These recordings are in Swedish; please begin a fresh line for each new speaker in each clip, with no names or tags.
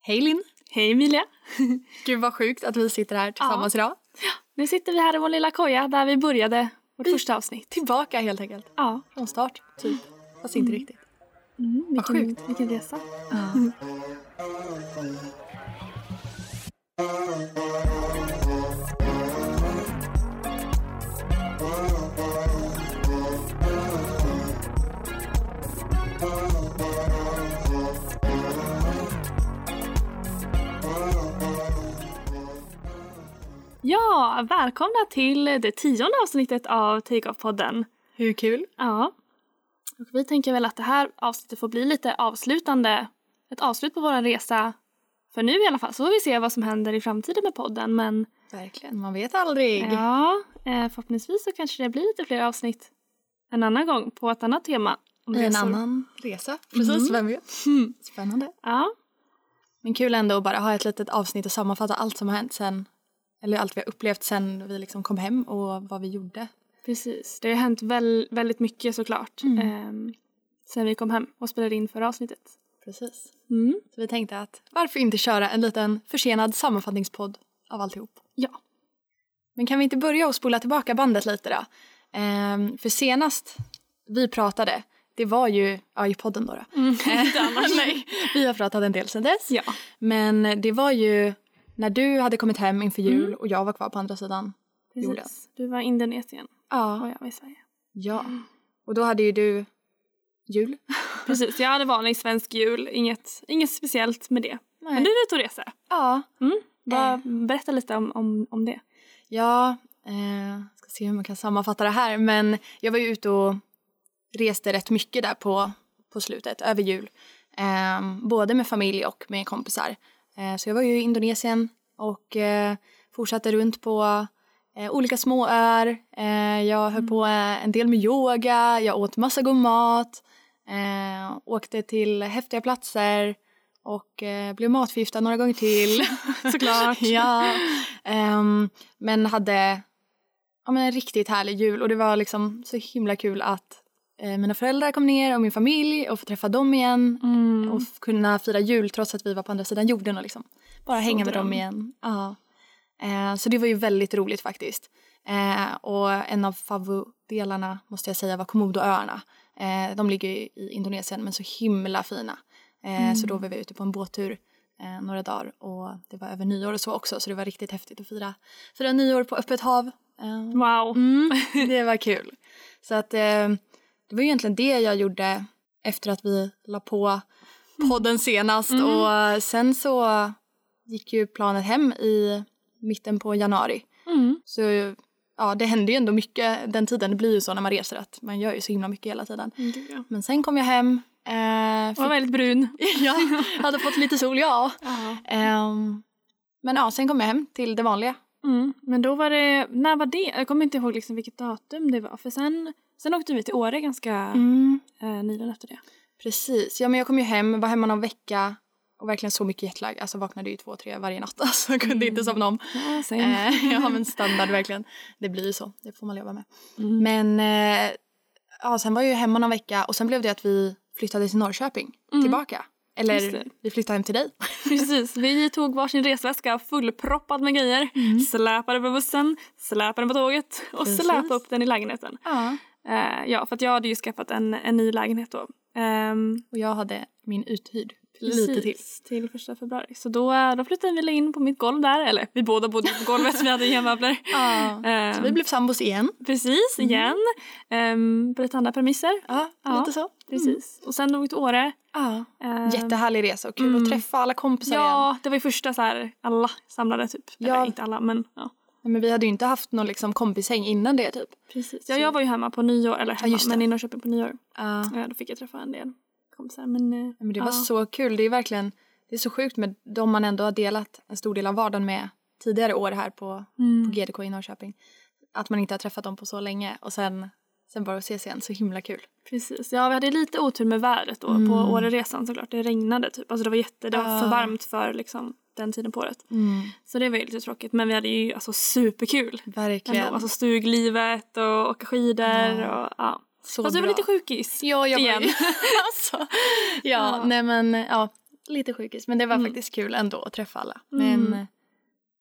Hej Linn!
Hej Emilia!
Gud vad sjukt att vi sitter här tillsammans idag.
Nu sitter vi här i vår lilla koja där vi började vårt första avsnitt.
Tillbaka helt enkelt.
Ja.
Från start, typ. Fast inte riktigt.
Mm, vilken,
sjukt.
Vilken resa. Ja, välkomna till det tionde avsnittet av Takeoff-podden.
Hur kul?
Ja. Och vi tänker väl att det här avsnittet får bli lite avslutande. Ett avslut på vår resa. För nu i alla fall. Så får vi se vad som händer i framtiden med podden. Men
Verkligen, man vet aldrig.
ja, eh, förhoppningsvis så kanske det blir lite fler avsnitt en annan gång på ett annat tema. Om
I en
resor. Mm. Hmm.
annan resa. Precis, vem vet? Spännande.
Ja,
Men kul ändå att bara ha ett litet avsnitt och sammanfatta allt som har hänt sen. Eller allt vi har upplevt sen vi liksom kom hem och vad vi gjorde.
precis. Det har hänt väl, väldigt mycket såklart. Eh, sen vi kom hem och spelade in förra avsnittet.
Precis.
Mm.
Så vi tänkte att varför inte köra en liten försenad sammanfattningspodd av alltihop.
Ja.
Men kan vi inte börja och spola tillbaka bandet lite då? Ehm, för senast vi pratade, det var ju ja, i podden då. då.
Inte annars, Mm. nej.
Vi har pratat en del sen dess.
Ja.
Men det var ju när du hade kommit hem inför jul och jag var kvar på andra sidan. Jorden.
Precis. Du var i Indonesien och
Ja.
jag var i Sverige.
ja. Och då hade ju du jul.
Precis, jag hade vanlig svensk jul. Inget, inget speciellt med det. Men
Nej.
du är ute och reser.
Ja.
Mm. Bara Berätta lite om, om, om det.
Ja, eh, ska se hur man kan sammanfatta det här. Men jag var ju ute och reste rätt mycket där på, på slutet, över jul. Eh, både med familj och med kompisar. Eh, så jag var ju i Indonesien och eh, fortsatte runt på eh, olika små öar. Eh, jag höll på eh, en del med yoga, jag åt massa god mat. Eh, åkte till häftiga platser och eh, blev matförgiftad några gånger till.
Såklart.
ja. Ehm, men hade ja, men en riktigt härlig jul och det var liksom så himla kul att eh, mina föräldrar kom ner och min familj och få träffa dem igen
Mm.
och f- kunna fira jul trots att vi var på andra sidan jorden och liksom bara
Så
hänga med
dröm.
dem igen. Ja. Eh, så det var ju väldigt roligt faktiskt. Eh, och en av favoritdelarna måste jag säga var Komodoöarna. Eh, de ligger ju i Indonesien men så himla fina. Eh, Så
Mm.
då var vi ute på en båttur eh, några dagar och det var över nyår och så också så det var riktigt häftigt att fira, fira nyår på öppet hav. Eh,
Wow.
Mm, det var kul. Så att eh, det var ju egentligen det jag gjorde efter att vi la på podden senast. Och eh, sen så gick ju planet hem i mitten på januari.
Mm.
Så ja, det hände ju ändå mycket den tiden. Det blir ju så när man reser att man gör ju så himla mycket hela tiden.
Jag
Men sen kom jag hem. Eh,
Mm, var
fick,
väldigt brun.
ja, hade fått lite sol, ja. Ehm, men ja, sen kom jag hem till det vanliga.
Mm. Men då var det, när var det? Jag kommer inte ihåg liksom vilket datum det var. För sen, sen åkte vi till Åre ganska eh, nyligen efter det.
Precis. Ja, men jag kom ju hem, var hemma någon vecka och verkligen så mycket jetlag. Alltså vaknade ju två, tre varje natt. Alltså jag kunde
Mm.
inte somna om.
Ja, sen.
Eh, ja, men standard verkligen. Det blir ju så. Det får man leva med.
Mm.
Men eh, ja, sen var jag ju hemma någon vecka och sen blev det att vi flyttade till Norrköping tillbaka.
Mm. Just
Eller
det.
vi flyttade hem till dig.
Precis, vi tog varsin resväska fullproppad med grejer. Släpade på bussen, släpade på tåget och
Mm. Precis.
släpade upp den i lägenheten.
Ja.
Eh, ja, för att jag hade ju skaffat en, en ny lägenhet då. Ehm,
Och jag hade min uthyrd. Lite till.
precis, Till första februari. Så då, eh, då flyttade vi in på mitt golv där. Eller vi båda bodde på golvet, vi hade inga möbler.
Ja. Så
Ehm,
vi blev Mm. sambos igen.
Precis, igen. Ehm, på lite andra premisser.
Ja,
Ja.
lite så. Mm.
Precis. Och sen drog vi till Åre.
Ja.
Ehm,
Jättehärlig resa och kul att träffa alla kompisar igen.
Mm. Ja, det var ju första så här, alla samlade typ. Eller
Ja.
inte alla, men ja.
Nej, Men vi hade ju inte haft någon liksom kompishäng innan det typ.
Precis. Ja, jag var ju hemma på nyår, eller hemma,
just det.
men i Norrköping på nyår.
Ja.
Ja, då fick jag träffa en del kompisar. Men, eh,
Men det
ja.
var så kul. Det är verkligen det är så sjukt med de man ändå har delat en stor del av vardagen med tidigare år här på,
Mm.
på GDK i Norrköping. Att man inte har träffat dem på så länge och sen, sen bara att ses igen. Så himla kul.
Precis. Ja, vi hade lite otur med vädret då på Åreresan såklart. Det regnade typ. Alltså det var jätte, det var för
Mm. Ja.
varmt för liksom den tiden på året.
Mm,
Så det var ju lite tråkigt. Men vi hade ju alltså superkul. Ändå.
Verkligen.
Alltså stuglivet och åka skidor och ja.
så
Fast du var
bra.
lite sjukis.
Ja, jag var
igen.
ju... alltså, ja, nej men ja. lite sjukis. Men det var
Mm.
faktiskt kul ändå att träffa alla.
Mm.
Men eh,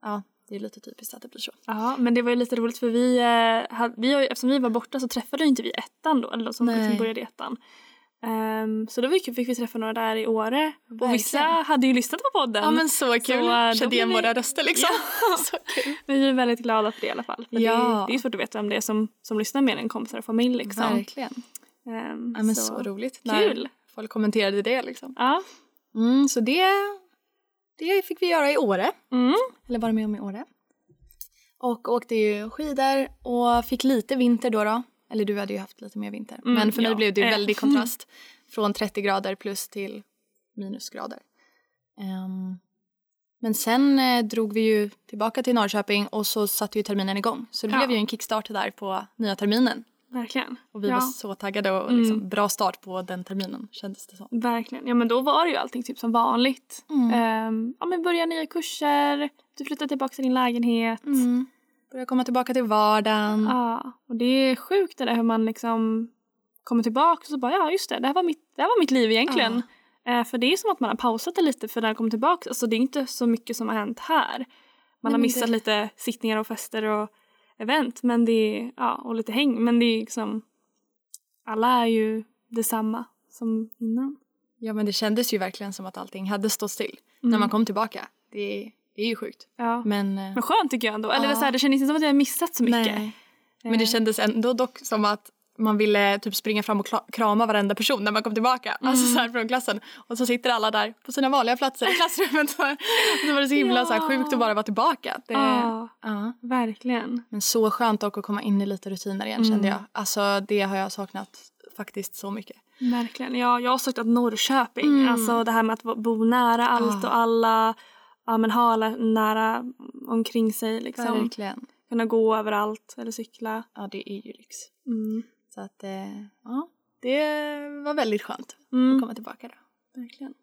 ja, det är lite typiskt att det blir så.
Ja, men det var ju lite roligt för vi, eh, hade, vi har ju, eftersom vi var borta så träffade ju inte vi ettan då, eller de som
Nej.
liksom började i ettan. Ehm, så då var det kul, fick vi träffa några där i Åre och
Verkligen.
vissa hade ju lyssnat på podden.
Ja men så kul.
eh, då
Kände
blir
igen
vi-
våra röster liksom. så kul.
Vi är ju väldigt glada för det i alla fall. För
Ja.
det, det är svårt att veta vem det är som, som lyssnar mer än kompisar och familj. Liksom.
Verkligen.
Ehm,
Ja men så, roligt. när
Kul!
Folk kommenterade det liksom.
Ja.
Mm, så det, det fick vi göra i Åre.
Mm.
Eller vara med om i Åre. Och åkte ju skidor och fick lite vinter då. då. Eller du hade ju haft lite mer vinter.
Mm,
men för mig
ja.
blev det ju
Eh.
väldig kontrast. Från 30 grader plus till minusgrader. Ehm, men sen eh, drog vi ju tillbaka till Norrköping och så satte ju terminen igång. Så det
Ja.
blev ju en kickstart där på nya terminen.
Verkligen.
Och vi
ja.
var så taggade och
Mm.
liksom, bra start på den terminen kändes det som.
Verkligen. Ja men då var det ju allting typ som vanligt.
Mm.
Ehm, ja men börja nya kurser, du flyttar tillbaka till din lägenhet.
Mm. Börja komma tillbaka till vardagen.
Ja, och det är sjukt det där hur man liksom kommer tillbaka och så bara ja just det, det här var mitt, det här var mitt liv egentligen. Eh, för det är som att man har pausat det lite för när jag kom tillbaka, alltså det är inte så mycket som har hänt här. Man
men
har missat
det-
lite sittningar och fester och event men det är, ja, och lite häng men det är liksom alla är ju detsamma som innan.
Ja men det kändes ju verkligen som att allting hade stått still när
Mm.
man kom tillbaka. Det, det är ju sjukt.
Ja.
Men, eh,
Men skönt tycker jag ändå. Eller
Ja.
så här, det kändes inte som att jag har missat så mycket.
nej. men det
Eh,
kändes ändå dock som att man ville typ springa fram och kla- krama varenda person när man kom tillbaka. Alltså så
Mm.
här från klassen. Och så sitter alla där på sina vanliga platser i klassrummet. Så, så var det så himla så här sjukt att bara vara tillbaka. Det,
Ja,
ja.
verkligen.
Men så skönt dock att komma in i lite rutiner igen
Mm.
kände jag. Alltså det har jag saknat faktiskt så mycket.
Verkligen. Ja, jag har sökt att Norrköping.
Mm. Ah.
Alltså det här med att va- bo nära allt
Ja.
och alla. Ja, men ha alla nära omkring sig liksom.
Verkligen.
Kunna gå överallt eller cykla.
Ja det är ju lyx.
Mm.
Så att eh, ja, det var väldigt skönt att
Mm.
komma tillbaka då.
Verkligen.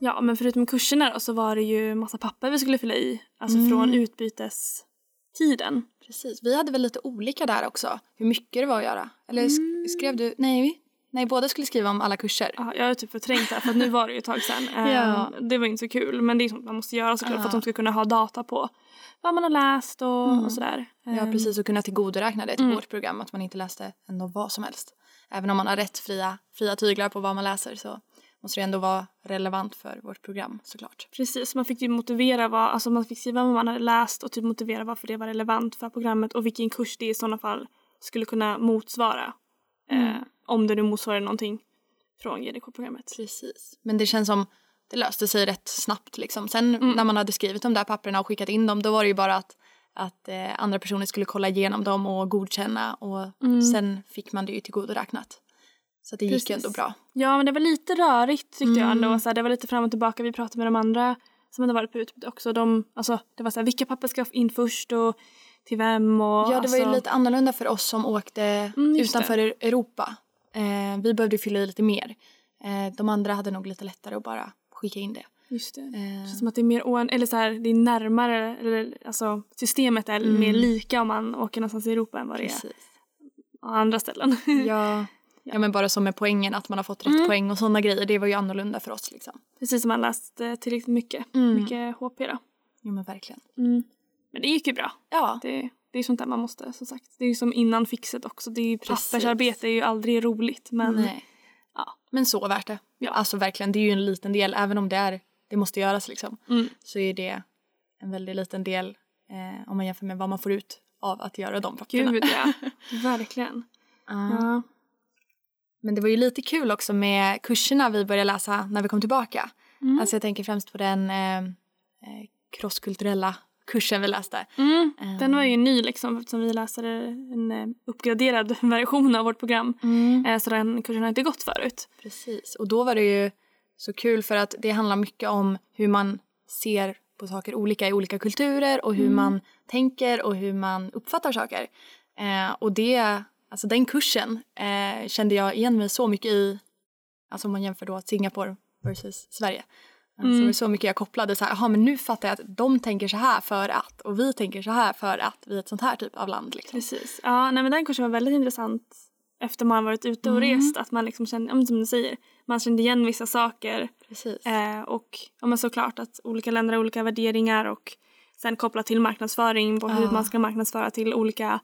Ja, men förutom kurserna då, så var det ju massa papper vi skulle fylla i. Alltså
Mm.
från utbytestiden.
Precis, vi hade väl lite olika där också, hur mycket det var att göra. Eller sk-
Mm.
skrev du, nej, vi- nej, båda skulle skriva om alla kurser.
Ja, jag har typ förträngt det här, för att nu var det ju ett tag sedan. Eh,
Ja.
Det var inte så kul men det är sånt man måste göra såklart
Ja.
för att de ska kunna ha data på vad man har läst och,
Mm.
och sådär.
Ja,
Eh,
precis, och kunna tillgodoräkna det till
Mm.
vårt program, att man inte läste ändå vad som helst. Även om man har rätt fria, fria tyglar på vad man läser så måste det ändå vara relevant för vårt program såklart.
Precis, man fick ju motivera vad, alltså man fick skriva vad man hade läst och typ motivera varför det var relevant för programmet och vilken kurs det i sådana fall skulle kunna motsvara. Eh,
Mm.
om det nu motsvarar någonting från GDK-programmet.
Precis. Men det känns som det löste sig rätt snabbt liksom. Sen
Mm.
när man hade skrivit de där papperna och skickat in dem då var det ju bara att, att eh, andra personer skulle kolla igenom dem och godkänna och
Mm.
sen fick man det ju tillgodoräknat. Så att det gick
Precis.
ju ändå bra.
Ja, men det var lite rörigt tyckte jag
Mm.
ändå. Så här, det var lite fram och tillbaka. Vi pratade med de andra som hade varit på utbyte också. De, alltså, det var så här, vilka papper ska in först och till vem? Och,
Ja, det
alltså,
var ju lite annorlunda för oss som åkte
Mm, just
utanför Europa. Eh, vi behövde fylla i lite mer. Eh, de andra hade nog lite lättare att bara skicka in det.
Just det. Det
Eh,
känns som att det är mer oan, eller så här, det är närmare, eller, alltså systemet är
Mm.
mer lika om man åker någonstans i Europa än vad det är
precis.
på andra ställen.
Ja. ja, men bara som med poängen, att man har fått rätt
Mm.
poäng och sådana grejer. Det var ju annorlunda för oss liksom.
Precis som man läst eh, tillräckligt mycket,
Mm.
mycket HP då.
Jo men verkligen.
Men det gick ju bra.
Ja,
Det, det är sånt där man måste, som sagt. Det är ju som innan fixet också. Det är ju,
Precis.
pappersarbete är ju aldrig roligt men eh,
Nej.
Ja.
men så värt det.
Ja.
Alltså verkligen, det är ju en liten del, även om det är, det måste göras liksom,
Mm.
så är det en väldigt liten del eh, om man jämför med vad man får ut av att göra de papperna.
Gud ja, verkligen.
Ja.
Ja.
Men det var ju lite kul också med kurserna vi började läsa när vi kom tillbaka.
Mm.
Alltså jag tänker främst på den eh, eh, krosskulturella kursen vi läste.
Mm.
Eh,
Den var ju ny liksom eftersom vi läser en eh, uppgraderad version av vårt program.
Mm.
Eh, Så den kursen har inte gått förut.
Precis, och då var det ju så kul för att det handlar mycket om hur man ser på saker olika i olika kulturer och hur
Mm.
man tänker och hur man uppfattar saker. Eh, och det, alltså den kursen eh, kände jag igen mig så mycket i, alltså om man jämför då Singapore versus Sverige. Alltså, det var så mycket jag kopplade så här, aha, men nu fattar jag att de tänker så här för att och vi tänker så här för att vi är ett sånt här typ av land. Liksom.
Precis. Ja, nej, men den kursen var väldigt intressant efter man varit ute och
Mm.
rest. Att man liksom kände, ja, men som du säger, man kände igen vissa saker.
Precis.
Eh, och ja, men såklart att olika länder har olika värderingar och sen kopplat till marknadsföring på hur
Ja.
man ska marknadsföra till olika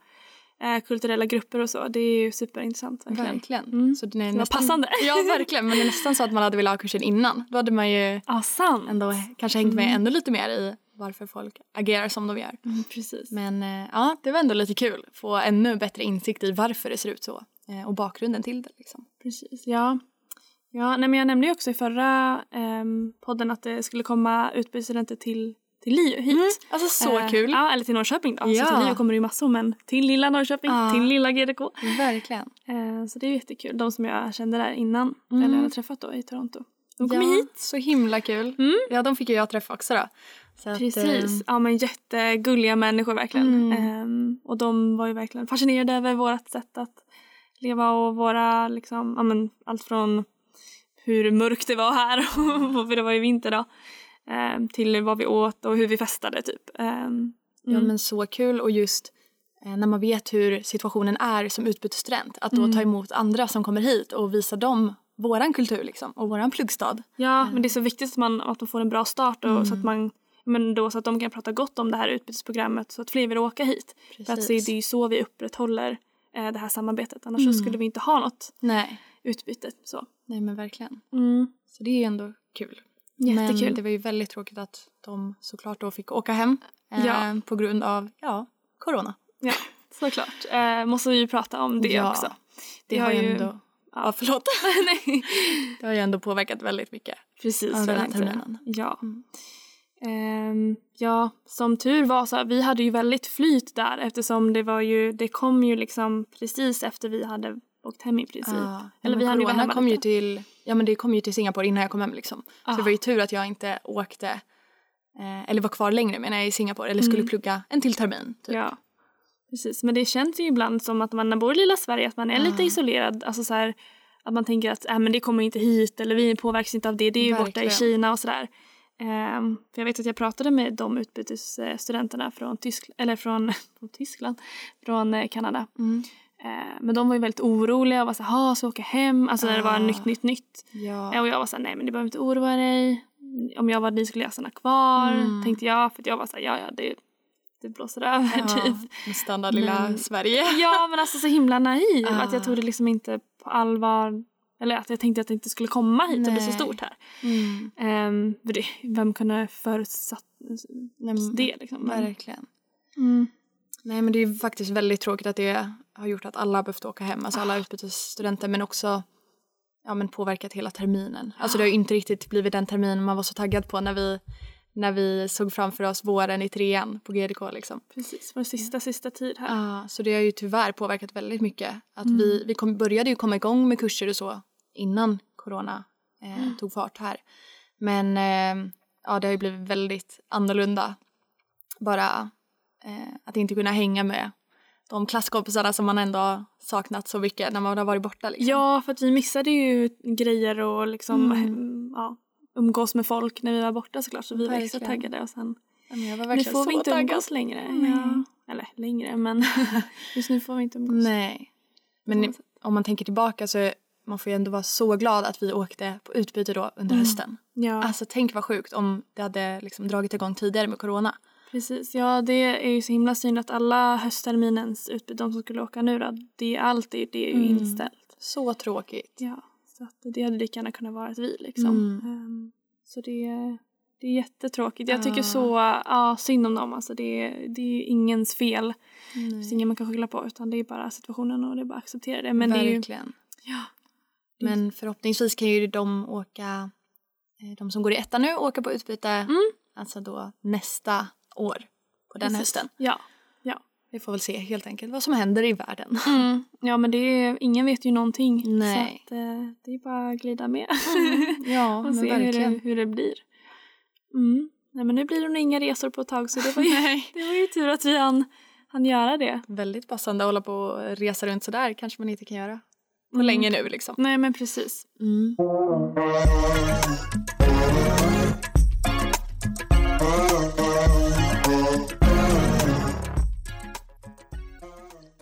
eh, kulturella grupper och så. Det är ju superintressant. Verkligen.
Verkligen.
Mm.
Så det är
var passande.
Ja, verkligen. Men det är nästan så att man hade velat ha kursen innan. Då hade man ju
Ja, sant.
ändå kanske hängt med
Mm.
ännu lite mer i varför folk agerar som de gör.
Mm, precis.
Men eh, ja, det var ändå lite kul. Få ännu bättre insikt i varför det ser ut så eh, och bakgrunden till det. Liksom.
Precis, ja. ja nej, men jag nämnde ju också i förra ehm, podden att det skulle komma utbytesstudenter till, till LiU hit.
Alltså så
Eh,
kul.
Ja, eller till Norrköping då.
Ja.
Så till LiU kommer det ju massor men till lilla Norrköping,
Ja.
till lilla GDK.
Verkligen.
Eh, så det är ju jättekul. De som jag kände där innan,
Mm.
eller hade träffat då i Toronto. De kommer
ja,
hit.
Så himla kul.
Mm.
Ja, de fick ju jag träffa också då. Så att,
Precis.
eh,
Ja men jättegulliga människor verkligen.
Mm.
Ehm, och de var ju verkligen fascinerade över vårt sätt att leva och våra liksom, ja men allt från hur mörkt det var här, och- för det var ju vinter då, ehm, till vad vi åt och hur vi festade typ. Ehm,
Ja,
mm.
men så kul och just eh, när man vet hur situationen är som utbytesstudent att då
Mm.
ta emot andra som kommer hit och visa dem våran kultur liksom, och våran pluggstad.
ja men det är så viktigt att man, att man får en bra start och
Mm.
så att man men då så att de kan prata gott om det här utbytesprogrammet så att fler vill åka hit. För att se, det är ju så vi upprätthåller eh, det här samarbetet. Annars
Mm.
så skulle vi inte ha något
Nej.
utbyte. Så.
Nej, men verkligen.
Mm.
Så det är ju ändå kul. Men
Jättekul.
det var ju väldigt tråkigt att de såklart då fick åka hem eh,
Ja.
på grund av ja, corona.
Såklart. Eh, måste vi ju prata om det
Ja,
också.
Det,
Vi
har
har
ju
ju-
ändå... Ja, förlåt.
Nej.
Det har ju ändå påverkat väldigt mycket.
Precis.
Ja, den
väl
här
inte.
terminen.
Ja.
Mm.
Ehm, ja, som tur var så vi hade ju väldigt flyt där eftersom det var ju, det kom ju liksom precis efter vi hade åkt hem i princip.
Ah, Ja,
Eller
men
vi hann ju vara
corona
hemma
kom ju
lite.
till, ja, men det kom ju till Singapore innan jag kom hem. Liksom. Så det var ju tur att jag inte åkte eh, eller var kvar längre menar jag, i Singapore eller skulle
Mm.
plugga en till termin. Typ.
Ja, precis. Men det känns ju ibland som att man när man bor i lilla Sverige att man är lite
Ja.
isolerad. Alltså så här, att man tänker att äh, men det kommer inte hit eller vi påverkas inte av det. Det är ju borta i
Verkligen.
Kina och sådär. Ehm, för jag vet att jag pratade med de utbytesstudenterna från, Tysk, eller från, från Tyskland, från eh, Kanada.
Mm.
Ehm, men de var ju väldigt oroliga och var såhär, ha ska jag åka hem? Alltså när det var
Ah.
nytt, nytt, nytt.
Ja.
Eh, Och jag var såhär, nej men du behöver inte oroa dig. Om jag var ni skulle jag stanna kvar,
Mm.
tänkte jag. För att jag var såhär, ja ja det, det blåser över typ.
med standard lilla
Men-
Sverige.
Ja men alltså så himla naiv
Ah.
att jag tog det liksom inte på allvar. Eller att jag tänkte att det inte skulle komma hit och bli så
Nej.
stort här.
Mm.
Um, för det, vem kunde förutsatt
Nej, men-
det liksom? Men,
Verkligen.
mm,
Nej men det är ju faktiskt väldigt tråkigt att det har gjort att alla har behövt åka hem, alltså
Ah.
alla utbytesstudenter men också ja, men påverkat hela terminen. Alltså det
Ah.
har ju inte riktigt blivit den termin man var så taggad på när vi, när vi såg framför oss våren i trean på GDK liksom.
precis, vår sista sista tid här.
Ja, Ah, så det har ju tyvärr påverkat väldigt mycket. Att
Mm.
vi vi kom, började ju komma igång med kurser och så innan corona eh, tog fart här. Men eh, ja, det har ju blivit väldigt annorlunda. Bara eh, att inte kunna hänga med de klasskompisarna som man ändå har saknat så mycket när man har varit borta. Liksom.
Ja för att vi missade ju grejer och liksom
Mm.
mm. ja, umgås med folk när vi var borta såklart så vi var extra
Verkligen.
taggade och sen
Ja, men jag var
nu
verkligen
får
så
vi inte
taggad.
umgås längre.
Nej.
Ja. Eller längre men just nu får vi inte umgås.
Nej. Men om man tänker tillbaka så är, man får ju ändå vara så glad att vi åkte på utbyte då under
Mm.
hösten.
Ja.
Alltså tänk vad sjukt om det hade liksom dragit igång tidigare med corona.
Precis, ja det är ju så himla synd att alla höstterminens utbud, de som skulle åka nu då, det, allt det, det är ju
Mm.
inställt.
Så tråkigt.
Ja, så att det hade lika gärna kunnat vara att vi liksom.
Mm.
Ehm, så det, det är jättetråkigt. Jag tycker
Ja.
så ja, synd om dem, alltså det, det är ju ingens fel. Det finns ingen man kan skylla på utan det är bara situationen och det är bara att acceptera det. Men det är ju,
Verkligen.
ja,
Men förhoppningsvis kan ju de åka, eh, de som går i ettan nu, åka på utbyte
Mm.
alltså då nästa år på den
precis.
hösten.
Ja.
Vi får väl se helt enkelt vad som händer i världen.
Mm. ja, men det är, ingen vet ju någonting.
Nej.
Så att, eh, det är bara att glida med.
Ja,
och se hur det, hur det blir. Mm. Nej men nu blir det nog inga resor på ett tag så det var ju,
Nej.
det var ju tur att vi hann, hann göra det.
Väldigt passande att hålla på och resa runt sådär kanske man inte kan göra på
Mm.
länge nu liksom.
Nej men precis.
Mm.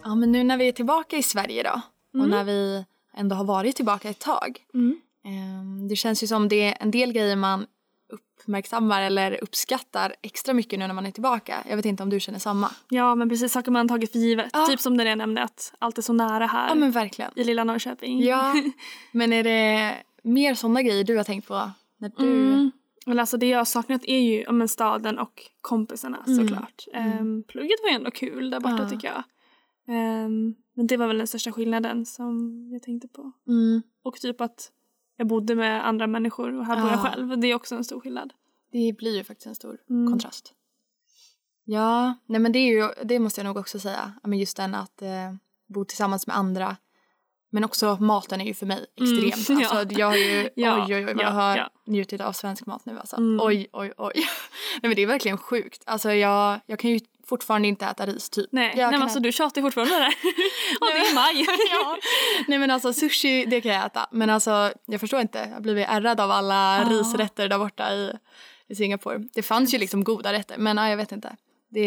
Ja, men nu när vi är tillbaka i Sverige då och när vi ändå har varit tillbaka ett tag.
Mm.
ehm, Det känns ju som det är en del grejer man uppmärksammar eller uppskattar extra mycket nu när man är tillbaka. Jag vet inte om du känner samma.
Ja men precis, saker man tagit för givet.
Ja.
Typ som den jag nämnde att allt är så nära här
Ja, men verkligen.
i lilla Norrköping.
Ja, men är det mer sådana grejer du har tänkt på när du...
Mm. Men alltså det jag har saknat är ju ja, men staden och kompisarna
Mm.
såklart. Ehm, plugget var ju ändå kul där borta
Ja.
tycker jag. Ehm, men det var väl den största skillnaden som jag tänkte på.
Mm.
Och typ att jag bodde med andra människor och här bor
Ja.
jag själv. Det är också en stor skillnad.
Det blir ju faktiskt en stor
Mm.
kontrast. Ja, nej men det, är ju, det måste jag nog också säga. Ja, Men just den att eh, bo tillsammans med andra. Men också maten är ju för mig
Mm,
extremt.
ja.
Alltså, jag har ju,
Ja,
oj, oj, oj, vad
ja,
jag har
ja.
njutit av svensk mat nu alltså.
Mm.
Oj, oj, oj. nej men det är verkligen sjukt. Alltså jag, jag kan ju fortfarande inte äta ris typ.
Nej,
Jag
nej
kan
men alltså du tjatar ju fortfarande där. ja det är maj.
ja. Nej men alltså sushi det kan jag äta. Men alltså jag förstår inte. Jag har blivit ärrad av alla
Ja.
risrätter där borta i, i Singapore. Det fanns ju liksom goda rätter men ja, jag vet inte. Det,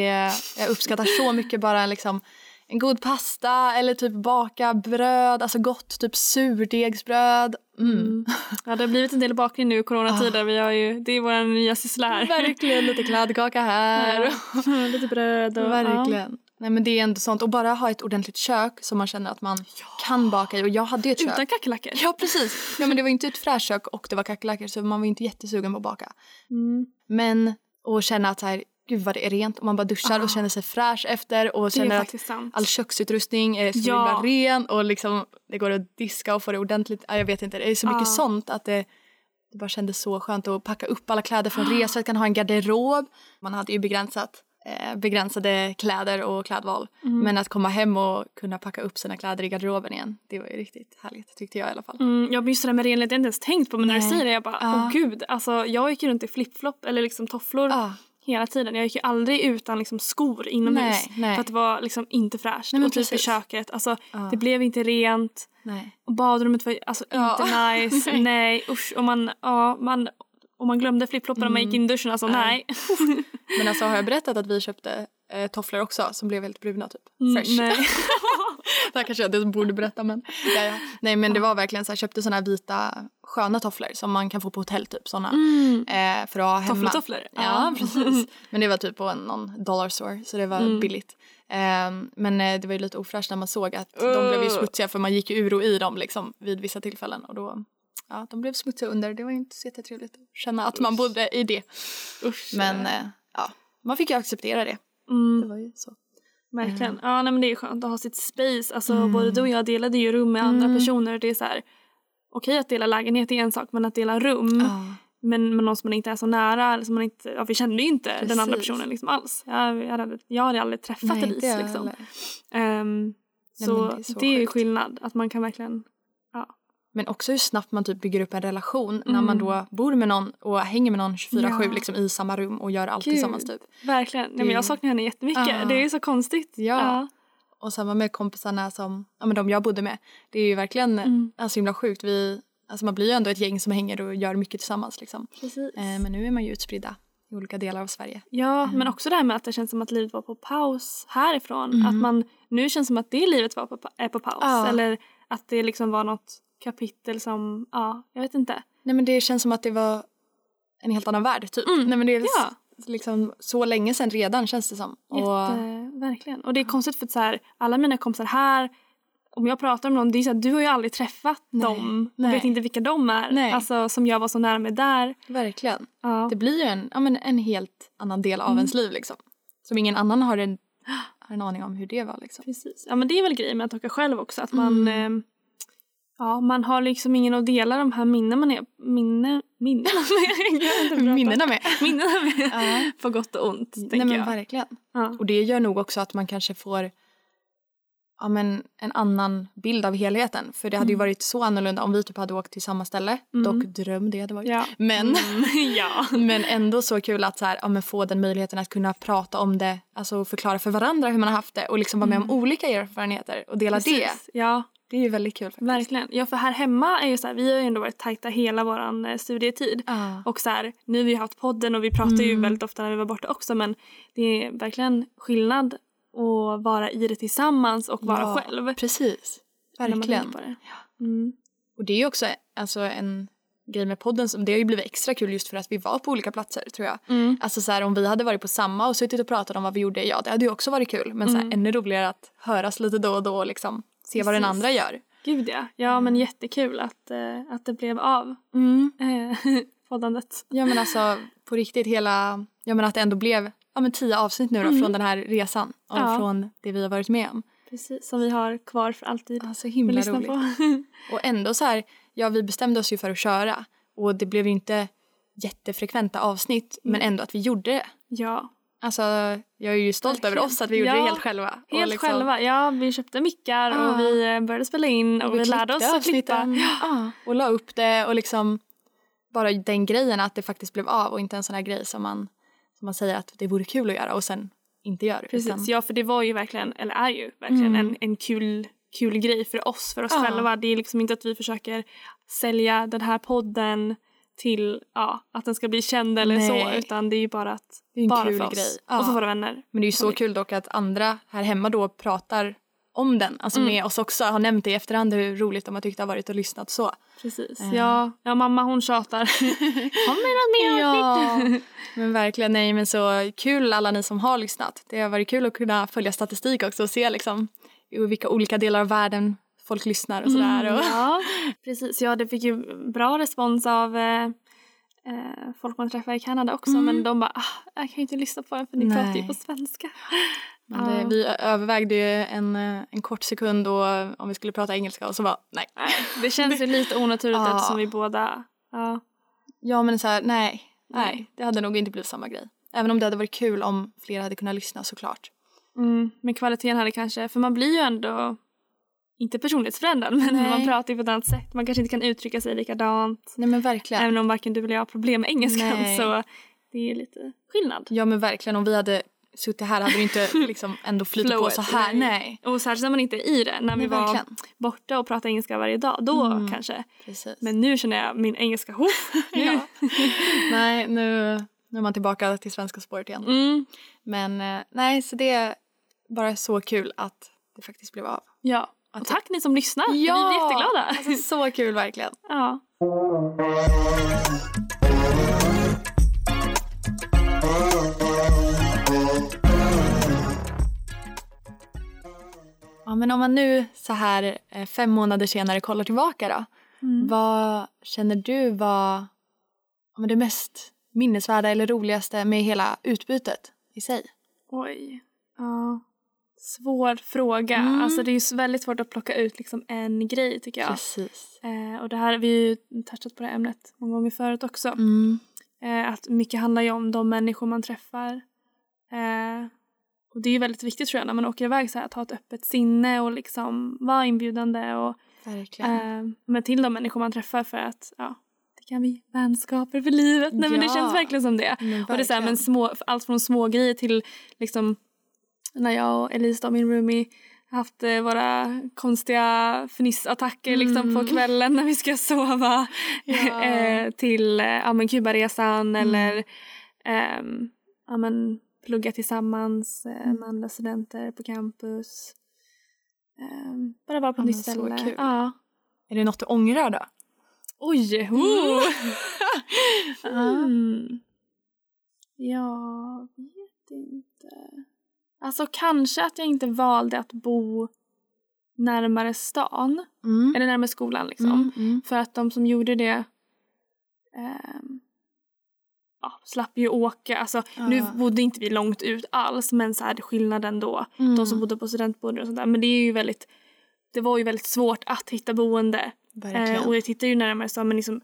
jag uppskattar så mycket bara liksom en god pasta eller typ baka bröd, alltså gott typ surdegsbröd. Mm.
Mm. Ja det har blivit en del bakning nu i coronatider. Vi har ju, det är vår nya syssla här.
Ah. Verkligen lite kladdkaka här.
Ja. Lite bröd och...
Verkligen. Nej men det är ändå sånt och bara ha ett ordentligt kök som man känner att man kan baka i och jag hade ju ett
Ja.
kök.
Utan kackerlackor.
Ja, precis. Ja, men det var inte ett fräscht kök och det var kackerlackor så man var inte jättesugen på att baka.
Mm.
Men att känna att så här, gud vad det är rent och man bara duschar
Ah.
och känner sig fräsch efter och
Det är
känner att
faktiskt sant.
all köksutrustning eh, är så
Ja.
himla ren och liksom det går att diska och få det ordentligt. Ja, jag vet inte, det är så mycket
Ah.
sånt att det, det bara kändes så skönt att packa upp alla kläder
Ah.
från resor, kan ha en garderob. Man hade ju begränsat eh, begränsade kläder och klädval.
Mm.
Men att komma hem och kunna packa upp sina kläder i garderoben igen, det var ju riktigt härligt tyckte jag i alla fall.
Mm, jag minns det där med renlighet, jag har inte ens tänkt på men när du
Nej.
säger det jag bara,
Ja.
åh gud. Alltså jag gick ju runt i flipflop eller liksom tofflor
Ah.
hela tiden. Jag gick ju aldrig utan liksom skor inomhus.
Nej, nej.
För att det var liksom inte fräscht.
Nej, men
och typ i
precis.
köket, alltså
Ja.
det blev inte rent.
Nej.
Och badrummet var alltså
Ja.
inte nice. nej.
Nej.
usch. Och man, ja, man, och man glömde flipflopparna när man
Mm.
gick in i duschen, alltså nej.
Nej. Men alltså har jag berättat att vi köpte eh, tofflor också som blev helt bruna typ? Fresh.
Mm, nej.
det här kanske jag inte borde berätta men. Ja, ja. Nej men det var verkligen så här, jag köpte såna här vita sköna tofflor som man kan få på hotell typ såna.
Mm.
Eh, för att ha hemma.
Toffletofflor.
Ja precis. Men det var typ på en, någon dollar store så det var
Mm.
billigt. Ehm, men eh, det var ju lite ofräscht när man såg att de
Uh.
blev ju smutsiga för man gick ju ur och i dem liksom vid vissa tillfällen och då ja de blev smutsiga under. Det var ju inte så jättetrevligt att känna att man bodde i det.
Usch.
Men eh, ja, man fick ju acceptera det.
Mm.
var ju så.
Verkligen. Ja, nej, men det är skönt att ha sitt space. Alltså,
Mm.
Både du och jag delade ju rum med andra
Mm.
personer. Det är så här, Okej att dela lägenhet är en sak, men att dela rum
Mm.
men med någon som man inte är så nära. Eller som man inte, ja, vi kände ju inte den andra
Precis.
personen liksom alls. Jag, jag, hade, jag hade aldrig träffat
Nej,
Elise.
det är
liksom.
eller-
Ehm,
Nej,
så,
men det är så
det är ju
sjukt.
skillnad. Att man kan verkligen...
Men också hur snabbt man typ bygger upp en relation när
Mm.
man då bor med någon och hänger med någon 24-7
Ja.
liksom i samma rum och gör allt
Gud.
tillsammans typ.
Verkligen. Nej, men jag
Det-
saknar henne jättemycket.
Ja.
Det är ju så konstigt.
Ja. Och samma med kompisarna som, ja men de jag bodde med. Det är ju verkligen
Mm.
alltså, himla sjukt. Vi, alltså man blir ju ändå ett gäng som hänger och gör mycket tillsammans liksom.
Precis.
Eh, men nu är man ju utspridda i olika delar av Sverige.
Ja,
Mm.
men också det här med att det känns som att livet var på paus härifrån.
Mm.
Att man, nu känns det som att det livet var på, pa- är på paus.
Ja.
Eller att det liksom var något kapitel som, ja, jag vet inte.
Nej men det känns som att det var en helt annan värld typ.
Mm.
Nej men det är
Ja,
s- liksom så länge sedan redan känns det som. Och,
jätte, verkligen. Och det är konstigt för att så här, alla mina kompisar här, om jag pratar med någon, det är så här, du har ju aldrig träffat
Nej.
dem. Jag
Nej.
vet inte vilka de är.
Nej.
Alltså som jag var så nära med där.
Verkligen.
Ja.
Det blir ju en, ja, men en helt annan del av
Mm.
ens liv liksom. Som ingen annan har en, har en aning om hur det var liksom.
Precis. Ja men det är väl grejen med att åka själv också att man
Mm.
eh, Ja, man har liksom ingen att dela de här minnen man är... Minne, minnen med. Jag kan inte prata.
Minnena med.
Minnena med.
Ja.
På gott och ont, tänker
Nej men
jag.
verkligen.
Ja.
Och det gör nog också att man kanske får ja, men en annan bild av helheten. För det hade ju
Mm.
varit så annorlunda om vi typ hade åkt till samma ställe.
Mm.
Dock dröm det hade varit.
Ja.
Men,
Mm, ja.
men ändå så kul att så här, ja, men få den möjligheten att kunna prata om det. Alltså förklara för varandra hur man har haft det. Och liksom vara med om olika erfarenheter och dela det.
Mm. Precis. Ja.
Det är ju väldigt kul faktiskt.
Verkligen. Ja, för här hemma är ju så här, vi har ju ändå varit tajta hela vår eh, studietid.
Ja.
Och så här, nu har vi haft podden och vi pratar ju
Mm.
väldigt ofta när vi var borta också men det är verkligen skillnad att vara i det tillsammans och vara
Ja,
själv.
Precis.
när man tänker
Verkligen.
På det. Mm.
Och det är ju också alltså, en grej med podden som det har ju blivit extra kul just för att vi var på olika platser tror jag.
Mm.
Alltså så här, om vi hade varit på samma och suttit och pratat om vad vi gjorde, ja det hade ju också varit kul. Men så
Mm.
här, ännu roligare att höras lite då och då och liksom se vad den
Precis.
andra gör.
Gud ja. Ja
Mm.
men jättekul att, eh, att det blev av eh, poddandet.
Ja men alltså på riktigt hela, ja men att det ändå blev ja, men tio avsnitt nu då,
Mm.
från den här resan och
Ja.
från det vi har varit med om.
Precis, som vi har kvar för alltid.
Alltså
att
himla
lyssna
roligt.
på.
Och ändå så här, ja vi bestämde oss ju för att köra och det blev ju inte jättefrekventa avsnitt men
Mm.
ändå att vi gjorde det.
ja,
Alltså jag är ju stolt
Verkligen.
över oss att vi gjorde
Ja.
det helt själva. Och
helt
liksom-
själva. Ja, vi köpte mickar
Ah.
och vi eh, började spela in och vi, lärde oss
klippte
att klippa.
avsnitten. Ja. Och la upp det och liksom bara den grejen att det faktiskt blev av och inte en sån här grej som man, som man säger att det vore kul att göra och sen inte gör. utan-
Precis, ja för det var ju verkligen, eller är ju verkligen en, en kul, kul grej för oss, för oss
Mm. Ja.
själva. Det är liksom inte att vi försöker sälja den här podden till ja, att den ska bli känd eller så
Nej.
utan det är ju bara att
Det är en
bara
kul
för oss
grej. Ja.
och för våra vänner.
Men det är ju så kul dock att andra här hemma då pratar om den, alltså
Mm.
med oss också, har nämnt det i efterhand hur roligt de har tyckt det har varit och lyssnat så.
Precis.
Eh.
Ja, ja, mamma hon tjatar. Kommer det något mer
Ja, men verkligen. Nej, men så kul alla ni som har lyssnat. Det har varit kul att kunna följa statistik också och se liksom i vilka olika delar av världen folk lyssnar och sådär.
Mm,
och,
ja, precis. Ja, det fick ju bra respons av eh, eh, folk man träffar i Kanada också.
Mm.
Men de bara, ah, jag kan ju inte lyssna på den för ni
Nej.
pratar ju på svenska.
Men det,
Ja.
vi ö- övervägde ju en, eh, en kort sekund och, eh, om vi skulle prata engelska och så bara nej.
Det känns ju lite onaturligt
Ja.
eftersom vi båda... Ja,
Ja men så här, nej,
Nej.
nej, det hade nog inte blivit samma grej. Även om det hade varit kul om fler hade kunnat lyssna såklart.
mm, men kvaliteten hade kanske... För man blir ju ändå... Inte personlighetsförändrad, men
Nej.
man pratar ju på ett annat sätt. Man kanske inte kan uttrycka sig likadant.
Nej men verkligen.
Även om varken du eller jag har problem med engelskan
Nej.
så det är ju lite skillnad.
Ja men verkligen, om vi hade suttit här hade det inte liksom ändå flutit på
Flowet,
så här.
nej.
Nej,
Och särskilt när man inte är i det. När
nej
vi var
verkligen.
borta och pratade engelska varje dag, då
Mm.
kanske.
Precis.
Men nu känner jag min engelska hop.
ja. nej, nu, nu är man tillbaka till svenska spåret igen.
Mm,
Men eh, nej, så det är bara så kul att det faktiskt blev av.
ja. Och
Att-
tack ni som lyssnar. Vi är jätteglada.
Alltså, så kul verkligen.
Ja.
Ja, men om man nu så här eh, fem månader senare kollar tillbaka då.
Mm.
Vad känner du var ja, men det mest minnesvärda eller roligaste med hela utbytet i sig?
Oj. Ja. Svår fråga.
Mm.
Alltså det är ju s- väldigt svårt att plocka ut liksom en grej tycker jag.
Precis.
Eh, och det här, vi har ju touchat på det här ämnet många gånger förut också.
Mm.
Eh, att mycket handlar ju om de människor man träffar. Eh, och det är ju väldigt viktigt tror jag när man åker iväg så här att ha ett öppet sinne och liksom vara inbjudande och
Verkligen.
Eh, men till de människor man träffar för att ja, det kan bli vänskaper för livet. Nej, men det
Ja.
känns verkligen som det.
men verkligen.
Och det är så här, men små, allt från små grejer till liksom när jag och Elise, då, min roomie, haft eh, våra konstiga fnissattacker liksom,
Mm.
på kvällen när vi ska sova.
Ja. Mm.
eh, till eh, ja, men Kubaresan eller ehm, ja, men, plugga tillsammans eh,
Mm.
med andra studenter på campus. Ehm, bara vara på
Ja, men
ett nytt
så
ställe.
kul.
Ja.
Är det något du ångrar då?
Oj!
oh.
Mm. Jag vet inte. Alltså kanske att jag inte valde att bo närmare stan.
Mm.
Eller närmare skolan liksom.
Mm. Mm.
För att de som gjorde det ehm, ja, slapp ju åka. Alltså, Nu
Ja.
bodde inte vi långt ut alls men så här, skillnaden då.
mm.
De som bodde på studentboende och sånt där. Men det är ju väldigt det var ju väldigt svårt att hitta boende
Verkligen.
Eh, och jag tittar ju närmare stan men liksom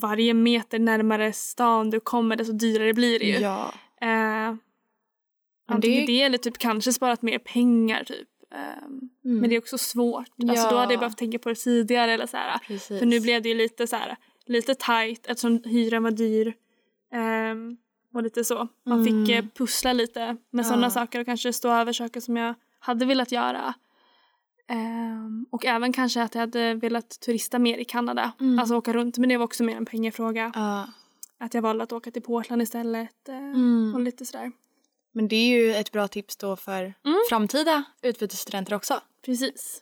varje meter närmare stan du kommer desto dyrare blir det ju.
Ja.
Eh,
Men
antingen
det-
det eller typ kanske sparat mer pengar typ. Ehm,
Mm.
Men det är också svårt. Alltså då hade jag
Ja.
behövt tänka på det tidigare eller så här.
Precis.
För nu blev det ju lite så här lite tight eftersom hyran var dyr. ehm, och lite så. Man
Mm.
fick eh, pussla lite med
Ja.
sådana saker och kanske stå över saker som jag hade velat göra. Ehm, och även kanske att jag hade velat turista mer i Kanada.
Mm.
Alltså åka runt. Men det var också mer en pengafråga.
Ja.
Att jag valde att åka till Portland istället. eh,
Mm.
Och lite sådär.
Men det är ju ett bra tips då för
Mm.
framtida utbytesstudenter också.
Precis.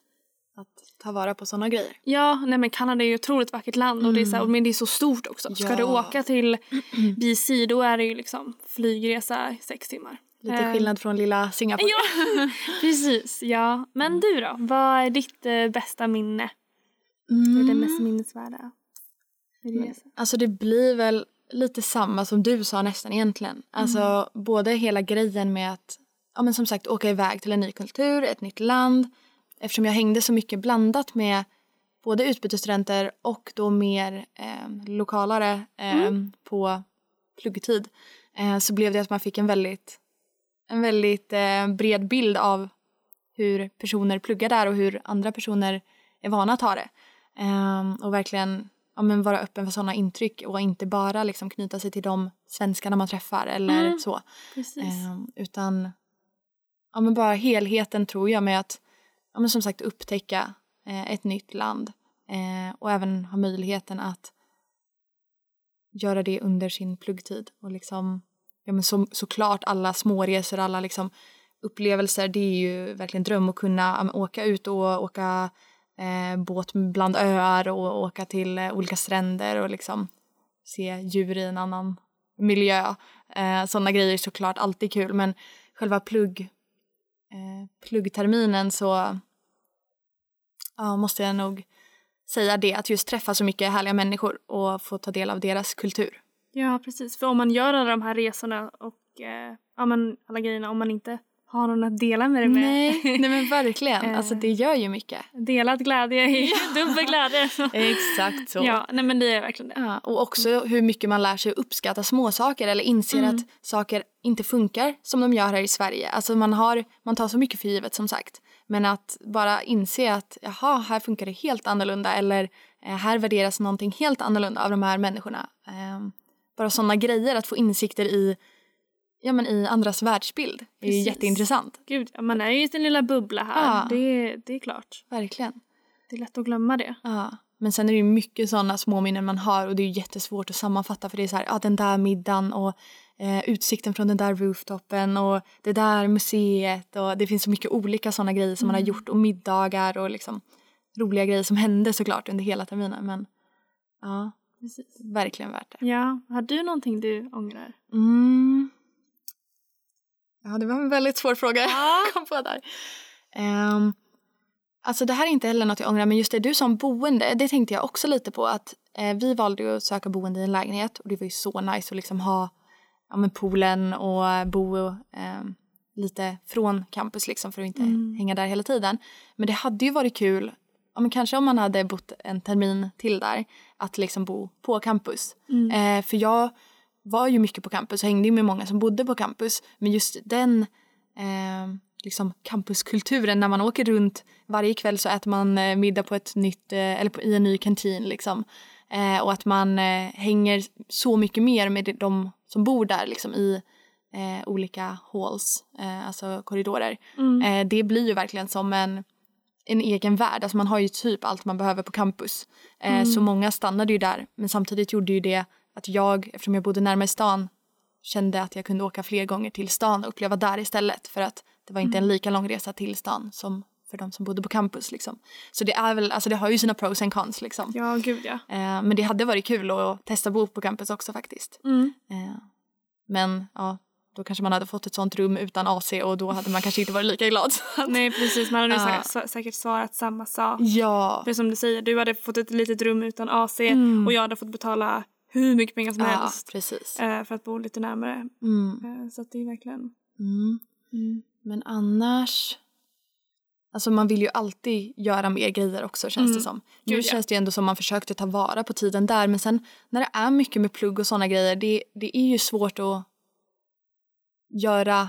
Att ta vara på sådana grejer.
Ja, nej men Kanada är ju ett otroligt vackert land och det är så här, men det är så stort också. Ska
Mm. Ja.
du åka till BC då är det ju liksom flygresa i sex timmar.
Lite
Eh,
skillnad från lilla Singapore.
Ja, precis. Ja. Men du då? Vad är ditt eh, bästa minne?
Mm.
Det mest minnesvärda? med din resa?
Alltså det blir väl lite samma som du sa nästan egentligen. Alltså
Mm.
både hela grejen med att ja, men som sagt åka iväg till en ny kultur, ett nytt land. Eftersom jag hängde så mycket blandat med både utbytesstudenter och då mer eh, lokalare eh,
Mm.
på pluggtid eh, så blev det att man fick en väldigt, en väldigt eh, bred bild av hur personer pluggar där och hur andra personer är vana att ha det. Ehm, och verkligen ja, men vara öppen för sådana intryck och inte bara liksom, knyta sig till de svenskarna man träffar eller
Mm,
så.
Precis.
Ehm, utan ja, men bara helheten tror jag med att ja, men som sagt upptäcka eh, ett nytt land eh, och även ha möjligheten att göra det under sin pluggtid och liksom ja, men som, såklart alla småresor, alla liksom upplevelser det är ju verkligen dröm att kunna ja, men åka ut och åka eh, båt bland öar och åka till eh, olika stränder och liksom se djur i en annan miljö. Eh, Sådana grejer är såklart alltid kul men själva plugg, eh, pluggterminen så ja, måste jag nog säga det att just träffa så mycket härliga människor och få ta del av deras kultur.
Ja, precis. För om man gör alla de här resorna och eh, ja, men alla grejerna, om man inte har någon att dela med det med.
Nej, nej men verkligen,
Eh.
alltså det gör ju mycket.
Delad glädje är dubbel glädje.
Exakt så.
Ja, nej men det är verkligen det.
Ja, och också hur mycket man lär sig att uppskatta småsaker eller inser
Mm.
att saker inte funkar som de gör här i Sverige. Alltså man, har, man tar så mycket för givet som sagt. Men att bara inse att jaha, här funkar det helt annorlunda eller eh, här värderas någonting helt annorlunda av de här människorna. Ehm, bara sådana grejer, att få insikter i, ja, men i andras världsbild är ju
Precis.
jätteintressant.
Gud, ja, man är ju i sin lilla bubbla här.
Ja.
Det, det är klart.
Verkligen.
Det är lätt att glömma det.
Ja. Men sen är det ju mycket sådana småminnen man har och det är ju jättesvårt att sammanfatta för det är så här, ja den där middagen och eh, utsikten från den där rooftopen och det där museet och det finns så mycket olika sådana grejer som
Mm.
man har gjort och middagar och liksom roliga grejer som hände såklart under hela terminen men ja,
Precis.
verkligen värt det.
Ja, har du någonting du ångrar?
Mm. Ja, det var en väldigt svår fråga
Ja.
jag kom på där. Ehm, alltså det här är inte heller något jag ångrar, men just det du som boende, det tänkte jag också lite på att eh, vi valde ju att söka boende i en lägenhet och det var ju så nice att liksom ha ja, men poolen och bo ehm, lite från campus liksom för att inte
Mm.
hänga där hela tiden. Men det hade ju varit kul, ja, men kanske om man hade bott en termin till där, att liksom bo på campus. Eh, för jag var ju mycket på campus och hängde ju med många som bodde på campus. Men just den eh, liksom campuskulturen när man åker runt varje kväll så äter man eh, middag på ett nytt, eh, eller på, i en ny kantin liksom. Eh, och att man eh, hänger så mycket mer med de som bor där liksom i eh, olika halls, eh, alltså korridorer.
Mm.
Eh, det blir ju verkligen som en, en egen värld. Alltså man har ju typ allt man behöver på campus. Eh,
Mm.
Så många stannade ju där. Men samtidigt gjorde ju det att jag, eftersom jag bodde närmare stan, kände att jag kunde åka fler gånger till stan och uppleva där istället. För att det var
Mm.
inte en lika lång resa till stan som för de som bodde på campus. Liksom. Så det, är väl, alltså det har ju sina pros and cons. Liksom.
Ja, gud ja.
Eh, men det hade varit kul att testa bo på campus också faktiskt. Eh, Men ja, då kanske man hade fått ett sånt rum utan AC och då hade man kanske inte varit lika glad. Så att-
Nej, precis. Man hade ju
Ja.
säkert, sä- säkert svarat samma sak.
Ja,
För som du säger, du hade fått ett litet rum utan AC
Mm.
och jag hade fått betala hur mycket pengar som
ja
helst
precis.
eh, för att bo lite närmare.
Mm.
Eh, Så att det är verkligen...
Mm. Men annars... Alltså man vill ju alltid göra mer grejer också känns
Mm.
det som. Nu
Gud, ja.
känns det ju ändå som man försökte ta vara på tiden där men sen när det är mycket med plugg och sådana grejer det, det är ju svårt att göra,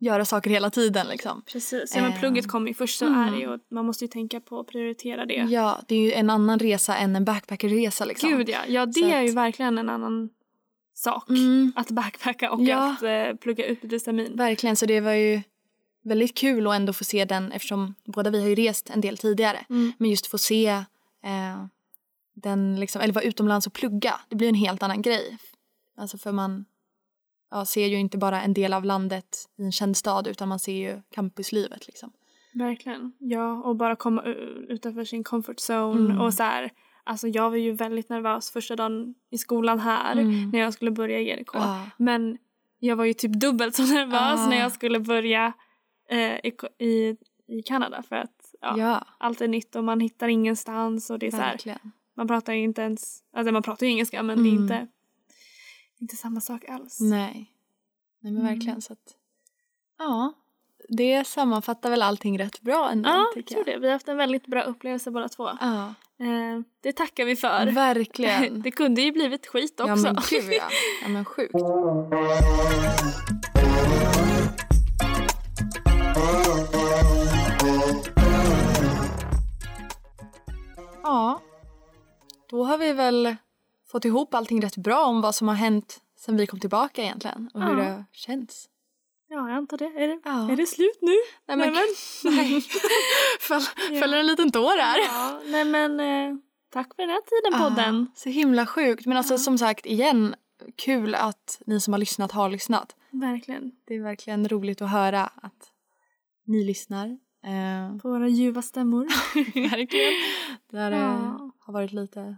göra saker hela tiden liksom.
Precis. Ja, men
Eh.
plugget kommer ju först så
Mm.
är det ju och man måste ju tänka på att prioritera det.
Ja, det är ju en annan resa än en backpackerresa liksom.
Gud ja. Ja, det
Så
är ju
att-
verkligen en annan sak.
Mm.
Att backpacka och
Ja.
att eh, plugga utbytestemin.
Verkligen, så det var ju väldigt kul att ändå få se den eftersom båda vi har ju rest en del tidigare.
Mm.
Men just få se eh, den liksom, eller vara utomlands och plugga, det blir en helt annan grej. Alltså för man ja, ser ju inte bara en del av landet i en känd stad utan man ser ju campuslivet liksom.
Verkligen. Ja, och bara komma u- utanför sin comfort zone.
Mm.
Och så här, alltså jag var ju väldigt nervös första dagen i skolan här
Mm.
när jag skulle börja i GDK.
Ja.
Men jag var ju typ dubbelt så nervös
Ah.
när jag skulle börja eh, i, Ko- i, i Kanada för att ja,
Ja,
allt är nytt och man hittar ingenstans och det är så här,
verkligen.
man pratar ju inte ens, alltså man pratar ju engelska men det är
Mm.
inte, inte samma sak alls.
Nej. Nej men
Mm.
verkligen så att, ja. Det sammanfattar väl allting rätt bra ändå
Ja, jag
tycker
tror
jag.
det. Vi har haft en väldigt bra upplevelse båda två.
Ja,
Eh, det tackar vi för.
verkligen.
Det kunde ju blivit skit också.
Ja men gud ja. ja men sjukt. Ja. Då har vi väl fått ihop allting rätt bra om vad som har hänt sen vi kom tillbaka egentligen och hur
Ja.
det känns.
Ja, jag antar det. Är det,
Ja.
är det slut nu?
Nej men,
Nej,
nej. Föll, föll en liten tår här.
Ja, nej men eh, tack för den här tiden podden.
Ja, så himla sjukt. Men alltså
Ja.
som sagt igen, kul att ni som har lyssnat har lyssnat.
Verkligen.
Det är verkligen roligt att höra att ni lyssnar. Eh,
På våra ljuva stämmor.
verkligen. Där eh,
Ja.
har varit lite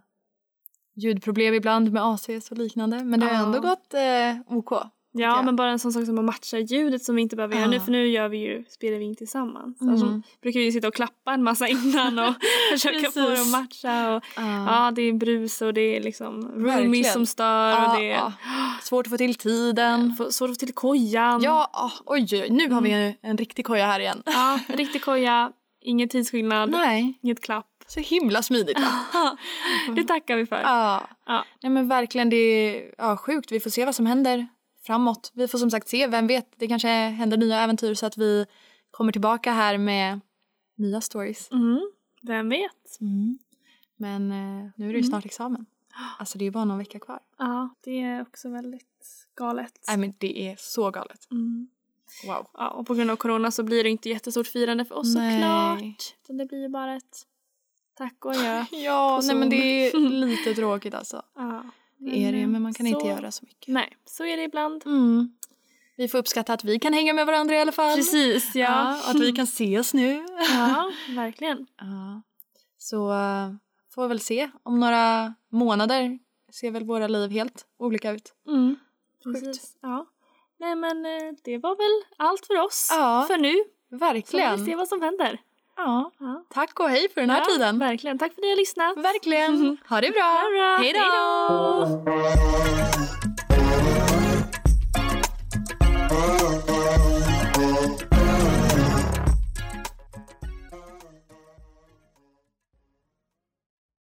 ljudproblem ibland med ACs och liknande. Men det har
Ja.
ändå gått eh, OK.
ja,
jag.
men bara en sån sak som att matcha ljudet som vi inte behöver göra
Ja.
nu för nu gör vi ju, spelar vi in tillsammans.
Mm.
Alltså, brukar vi ju sitta och klappa en massa innan och försöka få det
Precis.
att matcha. Och,
Ja.
Ja, det är brus och det är liksom roomies
Verkligen.
som stör och
Ja,
det är
ja. Svårt att få till tiden.
Få- svårt att få till kojan.
Ja, ah, oj, oj, nu har vi
Mm.
en, en riktig koja här igen.
Ja, riktig koja, ingen tidsskillnad,
Nej,
inget klapp.
så himla smidigt. va?
Det tackar vi för.
Ja.
Ja.
Nej men verkligen, det är ja, sjukt. Vi får se vad som händer framåt. Vi får som sagt se, vem vet, det kanske händer nya äventyr så att vi kommer tillbaka här med nya stories.
Mm, vem vet?
Mm. Men eh, nu är det ju snart examen. Alltså det är ju bara någon vecka kvar.
Ja, det är också väldigt galet.
Nej men det är så galet.
Mm.
Wow.
Ja, och på grund av corona så blir det inte jättestort firande för oss
Nej.
såklart. Utan det blir ju bara ett tack och adjö.
Ja,
På
nej men
Zoom.
det är lite tråkigt alltså.
Ja,
Det är det, men man kan
så,
inte göra så mycket.
Nej, så är det ibland.
Mm. Vi får uppskatta att vi kan hänga med varandra i alla fall.
Precis, ja.
Ja, och att vi kan ses nu.
ja, verkligen.
Ja. Så eh, får vi väl se. Om några månader ser väl våra liv helt olika ut.
Mm.
Sjukt.
Precis, ja. Nej men eh, det var väl allt för oss
Ja.
för nu. Så får vi se
Verkligen.
vad som händer.
Ja.
Ja.
Tack och hej för den här
ja,
tiden.
Verkligen. Tack för att ni har lyssnat.
Verkligen. Ha det bra.
Ha det bra.
Hej
Hej
då.
då.